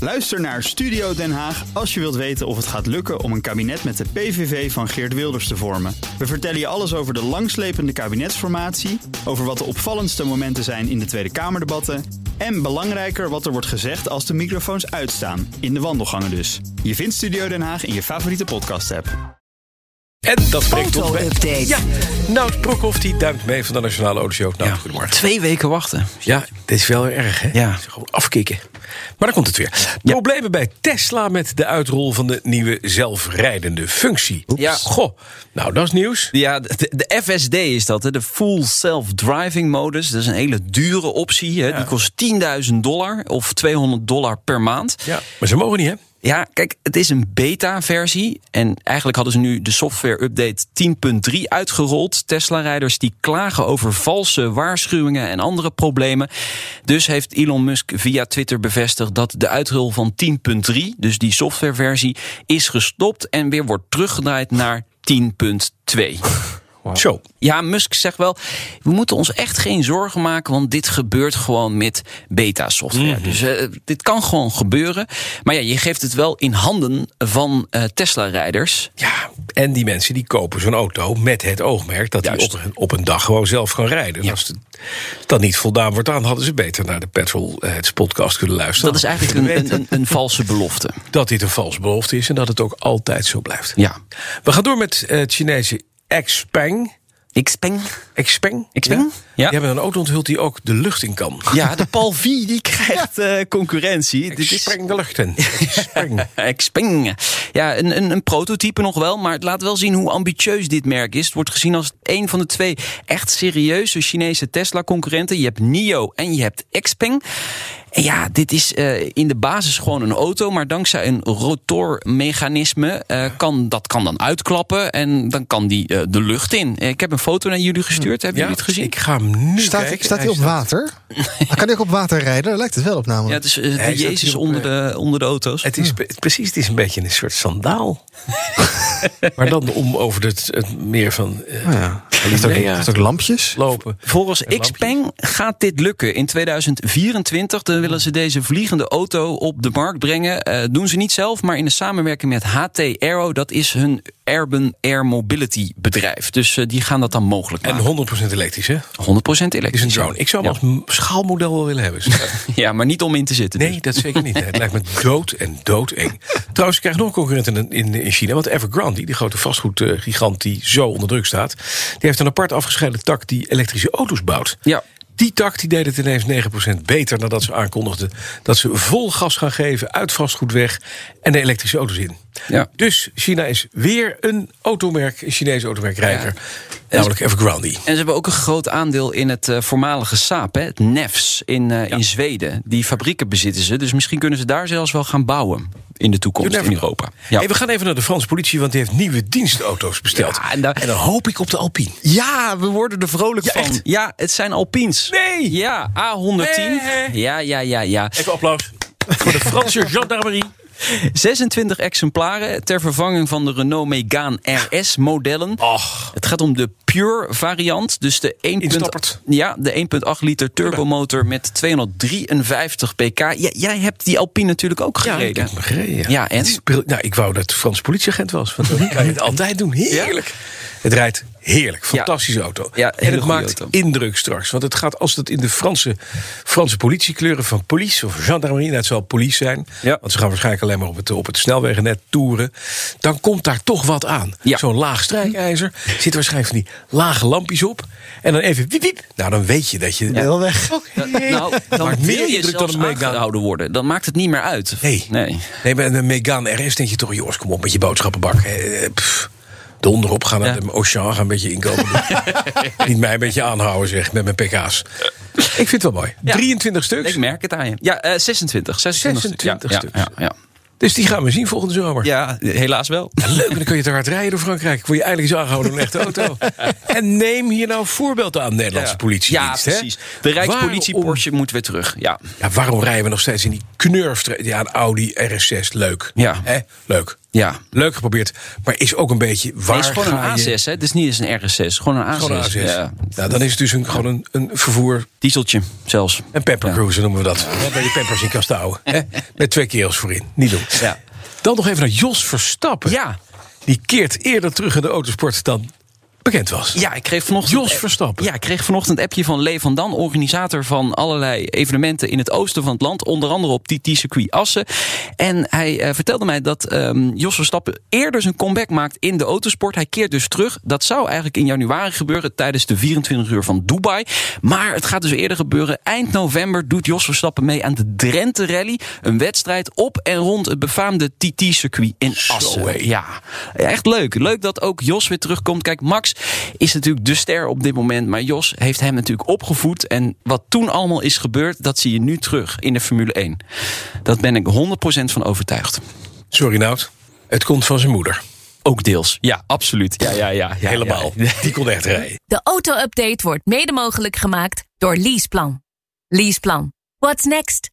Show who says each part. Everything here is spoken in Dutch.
Speaker 1: Luister naar Studio Den Haag als je wilt weten of het gaat lukken om een kabinet met de PVV van Geert Wilders te vormen. We vertellen je alles over de langslepende kabinetsformatie, over wat de opvallendste momenten zijn in de Tweede Kamerdebatten en belangrijker wat er wordt gezegd als de microfoons uitstaan, in de wandelgangen dus. Je vindt Studio Den Haag in je favoriete podcast-app.
Speaker 2: En dat brengt ons bij...
Speaker 3: Auto-update.
Speaker 2: Ja, Nout Broekhoff die duimt mee van de Nationale Autoshow. Nou,
Speaker 4: Ja.
Speaker 2: goedemorgen.
Speaker 4: Twee weken wachten.
Speaker 2: Ja, dit is wel erg, hè?
Speaker 4: Ja.
Speaker 2: Het is Gewoon afkicken. Maar dan komt het weer. Problemen bij Tesla met de uitrol van de nieuwe zelfrijdende functie.
Speaker 4: Ja.
Speaker 2: Goh, nou, dat is nieuws.
Speaker 4: Ja, de, de FSD is dat, hè? de Full Self-Driving Modus. Dat is een hele dure optie. Hè? Die kost 10.000 dollar of 200 dollar per maand.
Speaker 2: Ja. Maar ze mogen niet, hè?
Speaker 4: Ja, kijk, het is een beta-versie. En eigenlijk hadden ze nu de software-update 10.3 uitgerold. Tesla-rijders die klagen over valse waarschuwingen en andere problemen. Dus heeft Elon Musk via Twitter bevestigd dat de uitrol van 10.3, dus die software-versie, is gestopt en weer wordt teruggedraaid naar 10.2.
Speaker 2: Zo.
Speaker 4: Ja, Musk zegt wel, we moeten ons echt geen zorgen maken, want dit gebeurt gewoon met beta-software. Dus eh, dit kan gewoon gebeuren. Maar ja, je geeft het wel in handen van eh, Tesla-rijders.
Speaker 2: Ja, en die mensen die kopen zo'n auto met het oogmerk dat die
Speaker 4: Juist.
Speaker 2: op een, op een dag gewoon zelf gaan rijden. En Als het- dat niet voldaan wordt, dan hadden ze beter naar de Petrol eh, het podcast kunnen luisteren.
Speaker 4: Dat is eigenlijk een, een, een, een valse belofte.
Speaker 2: dat dit een valse belofte is en dat het ook altijd zo blijft.
Speaker 4: Ja.
Speaker 2: We gaan door met eh, het Chinese Xpeng.
Speaker 4: Ik speng.
Speaker 2: Xpeng?
Speaker 4: Xpeng?
Speaker 2: Ja.
Speaker 4: Ja.
Speaker 2: Die hebben een auto onthuld die ook de lucht in kan.
Speaker 4: Ja, de Palvi die krijgt eh, concurrentie. Dit is,
Speaker 2: Xpeng de lucht in. Xpeng.
Speaker 4: Xpeng. Ja, een, een, een prototype nog wel, maar het laat wel zien hoe ambitieus dit merk is. Het wordt gezien als een van de twee echt serieuze Chinese Tesla-concurrenten. Je hebt NIO en je hebt Xpeng. En ja, dit is eh, in de basis gewoon een auto, maar dankzij een rotormechanisme eh, kan dat kan dan uitklappen en dan kan die eh, de lucht in. Eh, Ik heb een foto naar jullie gestuurd. Hebben jullie het gezien?
Speaker 2: Hm. Ik ga hem nu
Speaker 5: Staat,
Speaker 2: kijken.
Speaker 5: staat hij op water? Hij kan hij ook op water rijden? Daar lijkt het wel op
Speaker 4: Ja,
Speaker 5: namelijk.
Speaker 4: het is eh,
Speaker 2: Hij
Speaker 4: de
Speaker 2: staat
Speaker 4: Jezus
Speaker 2: hier op, eh,
Speaker 4: onder de, onder de auto's.
Speaker 2: Het is be- precies, het is een beetje een soort sandaal. maar dan om over het, het meer van
Speaker 5: Oh
Speaker 2: eh,
Speaker 5: Heeft ook-
Speaker 2: Galilea
Speaker 5: heeft ook lampjes?
Speaker 2: lopen.
Speaker 4: Volgens Xpeng gaat dit lukken. In 2024 dan willen ze deze vliegende auto op de markt brengen. Eh, doen ze niet zelf, maar in de samenwerking met HT Aero. Dat is hun Urban Air Mobility bedrijf. Dus eh, die gaan dat dan mogelijk maken.
Speaker 2: En 100% elektrisch, hè?
Speaker 4: 100%
Speaker 2: Is
Speaker 4: elektrisch.
Speaker 2: een drone. Ik zou hem als m- schaalmodel wel willen hebben.
Speaker 4: Ja, maar niet om in te zitten. dus.
Speaker 2: Nee, dat zeker niet. Het lijkt me dood en doodeng. Trouwens, ik krijg nog een concurrent in, in, in China. Want Evergrande, die grote vastgoedgigant die zo onder druk staat... die heeft een apart afgescheiden tak die elektrische auto's bouwt.
Speaker 4: Ja.
Speaker 2: Die tak die deed het ineens 9% beter nadat ze aankondigden... dat ze vol gas gaan geven, uit vastgoed weg en de elektrische auto's in.
Speaker 4: Ja.
Speaker 2: Dus China is weer een automerk, een Chinese automerk rijker. Namelijk Evergrande.
Speaker 4: En ze hebben ook een groot aandeel in het eh, voormalige Saab, hè, het NEFS in, eh, in Zweden. Die fabrieken bezitten ze, dus misschien kunnen ze daar zelfs wel gaan bouwen in de toekomst
Speaker 2: You
Speaker 4: in
Speaker 2: never know.
Speaker 4: Europa. Ja.
Speaker 2: Hey, we gaan even naar de Franse politie, want die heeft nieuwe dienstauto's besteld.
Speaker 4: Ja, en
Speaker 2: en,
Speaker 4: daar-
Speaker 2: dan hoop ik op de Alpine.
Speaker 4: Ja, we worden er vrolijk
Speaker 2: Ja,
Speaker 4: van.
Speaker 2: echt?
Speaker 4: Ja, het zijn Alpines.
Speaker 2: Nee!
Speaker 4: Ja, A110.
Speaker 2: Nee.
Speaker 4: Ja, ja, ja, ja.
Speaker 2: Even applaus voor de Franse gendarmerie.
Speaker 4: 26 exemplaren ter vervanging van de Renault Megane RS modellen.
Speaker 2: Och.
Speaker 4: Het gaat om de Pure variant, dus de 1.8
Speaker 2: Instapperd.
Speaker 4: ja, de 1.8 liter turbomotor met 253 pk. Ja, jij hebt die Alpine natuurlijk ook
Speaker 2: Ja, ik
Speaker 4: gereden.
Speaker 2: heb hem gereden.
Speaker 4: Ja, en?
Speaker 2: Het is bril- nou, ik wou dat de Franse politieagent was. Want dan kan je het altijd doen. Heerlijk. Het rijdt heerlijk. Fantastische auto.
Speaker 4: Ja,
Speaker 2: en
Speaker 4: hele
Speaker 2: het
Speaker 4: goede
Speaker 2: maakt
Speaker 4: auto.
Speaker 2: indruk straks. Want het gaat, als dat in de Franse, Franse politiekleuren van police of gendarmerie... nou, het zal police zijn,
Speaker 4: Ja.
Speaker 2: want ze gaan waarschijnlijk alleen maar op het, op het snelwegennet toeren... dan komt daar toch wat aan.
Speaker 4: Ja.
Speaker 2: Zo'n laag strijkijzer, zit waarschijnlijk van die lage lampjes op... en dan even wiep, wiep. Nou, dan weet je dat je...
Speaker 5: Wel weg.
Speaker 4: Ja, nou, dan
Speaker 2: Maakt
Speaker 4: wil
Speaker 2: meer
Speaker 4: je
Speaker 2: indruk dan
Speaker 4: zelfs
Speaker 2: een Megane.
Speaker 4: aangehouden worden. Dan maakt het niet meer uit.
Speaker 2: Nee.
Speaker 4: nee.
Speaker 2: Nee, eh, bij een Megane RS denk je toch, jongens, kom op met je boodschappenbak. Eh, pff, Donder op, gaan naar
Speaker 4: Ja.
Speaker 2: de Auchan, gaan een beetje inkomen. doen. Niet mij een beetje aanhouden, zeg, met mijn pk's. Ik vind het wel mooi.
Speaker 4: Ja.
Speaker 2: 23
Speaker 4: Ik
Speaker 2: stuks.
Speaker 4: merk het aan je. Ja, eh 26. 26,
Speaker 2: 26
Speaker 4: ja,
Speaker 2: stuks.
Speaker 4: Ja, ja, ja.
Speaker 2: Dus die gaan we zien volgende zomer.
Speaker 4: Ja, helaas wel.
Speaker 2: Leuk, en dan kun je te hard rijden door Frankrijk. Word je eindelijk eens aangehouden door een echte auto. en neem hier nou voorbeeld aan, Nederlandse politie.
Speaker 4: Ja, precies. De Rijkspolitie
Speaker 2: Waarom,
Speaker 4: Porsche moet weer terug. Ja.
Speaker 2: ja, waarom rijden we nog steeds in die knurft. Ja, een Audi RS6, leuk.
Speaker 4: Ja.
Speaker 2: Hè? Leuk.
Speaker 4: Ja.
Speaker 2: Leuk geprobeerd. Maar is ook een beetje waar
Speaker 4: Nee, het is gewoon
Speaker 2: ga
Speaker 4: een
Speaker 2: je-
Speaker 4: A6, hè? Het is niet eens een RS6. Gewoon een A6.
Speaker 2: Gewoon een A6.
Speaker 4: Ja.
Speaker 2: Nou, dan is het dus een, gewoon een, een vervoer.
Speaker 4: Dieseltje zelfs.
Speaker 2: Een pampercruiser noemen we dat. Waar je pampers in kan stouwen. hè? Met twee kerels voorin. Niet doen.
Speaker 4: Ja.
Speaker 2: Dan nog even naar Jos Verstappen.
Speaker 4: Ja.
Speaker 2: Die keert eerder terug in de autosport dan bekend was.
Speaker 4: Ja, ik kreeg vanochtend.
Speaker 2: Jos Verstappen.
Speaker 4: Ja, ik kreeg vanochtend een appje van Lee van Dan, organisator van allerlei evenementen in het oosten van het land. Onder andere op TT-circuit Assen. En hij eh, vertelde mij dat ehm, Jos Verstappen eerder zijn comeback maakt in de autosport. Hij keert dus terug. Dat zou eigenlijk in januari gebeuren tijdens de 24 uur van Dubai. Maar het gaat dus eerder gebeuren. Eind november doet Jos Verstappen mee aan de Drenthe Rally. Een wedstrijd op en rond het befaamde TT-circuit in Assen.
Speaker 2: hé.
Speaker 4: Ja, echt leuk. Leuk dat ook Jos weer terugkomt. Kijk, Max is natuurlijk de ster op dit moment. Maar Jos heeft hem natuurlijk opgevoed. En wat toen allemaal is gebeurd, dat zie je nu terug in de Formule 1. Dat ben ik 100% van overtuigd.
Speaker 2: Sorry Nout. Het komt van zijn moeder.
Speaker 4: Ook deels. Ja, absoluut. Ja, ja, ja. ja
Speaker 2: Helemaal.
Speaker 4: ja.
Speaker 2: Die kon echt rijden.
Speaker 3: De auto-update wordt mede mogelijk gemaakt door Leaseplan. Leaseplan. What's next?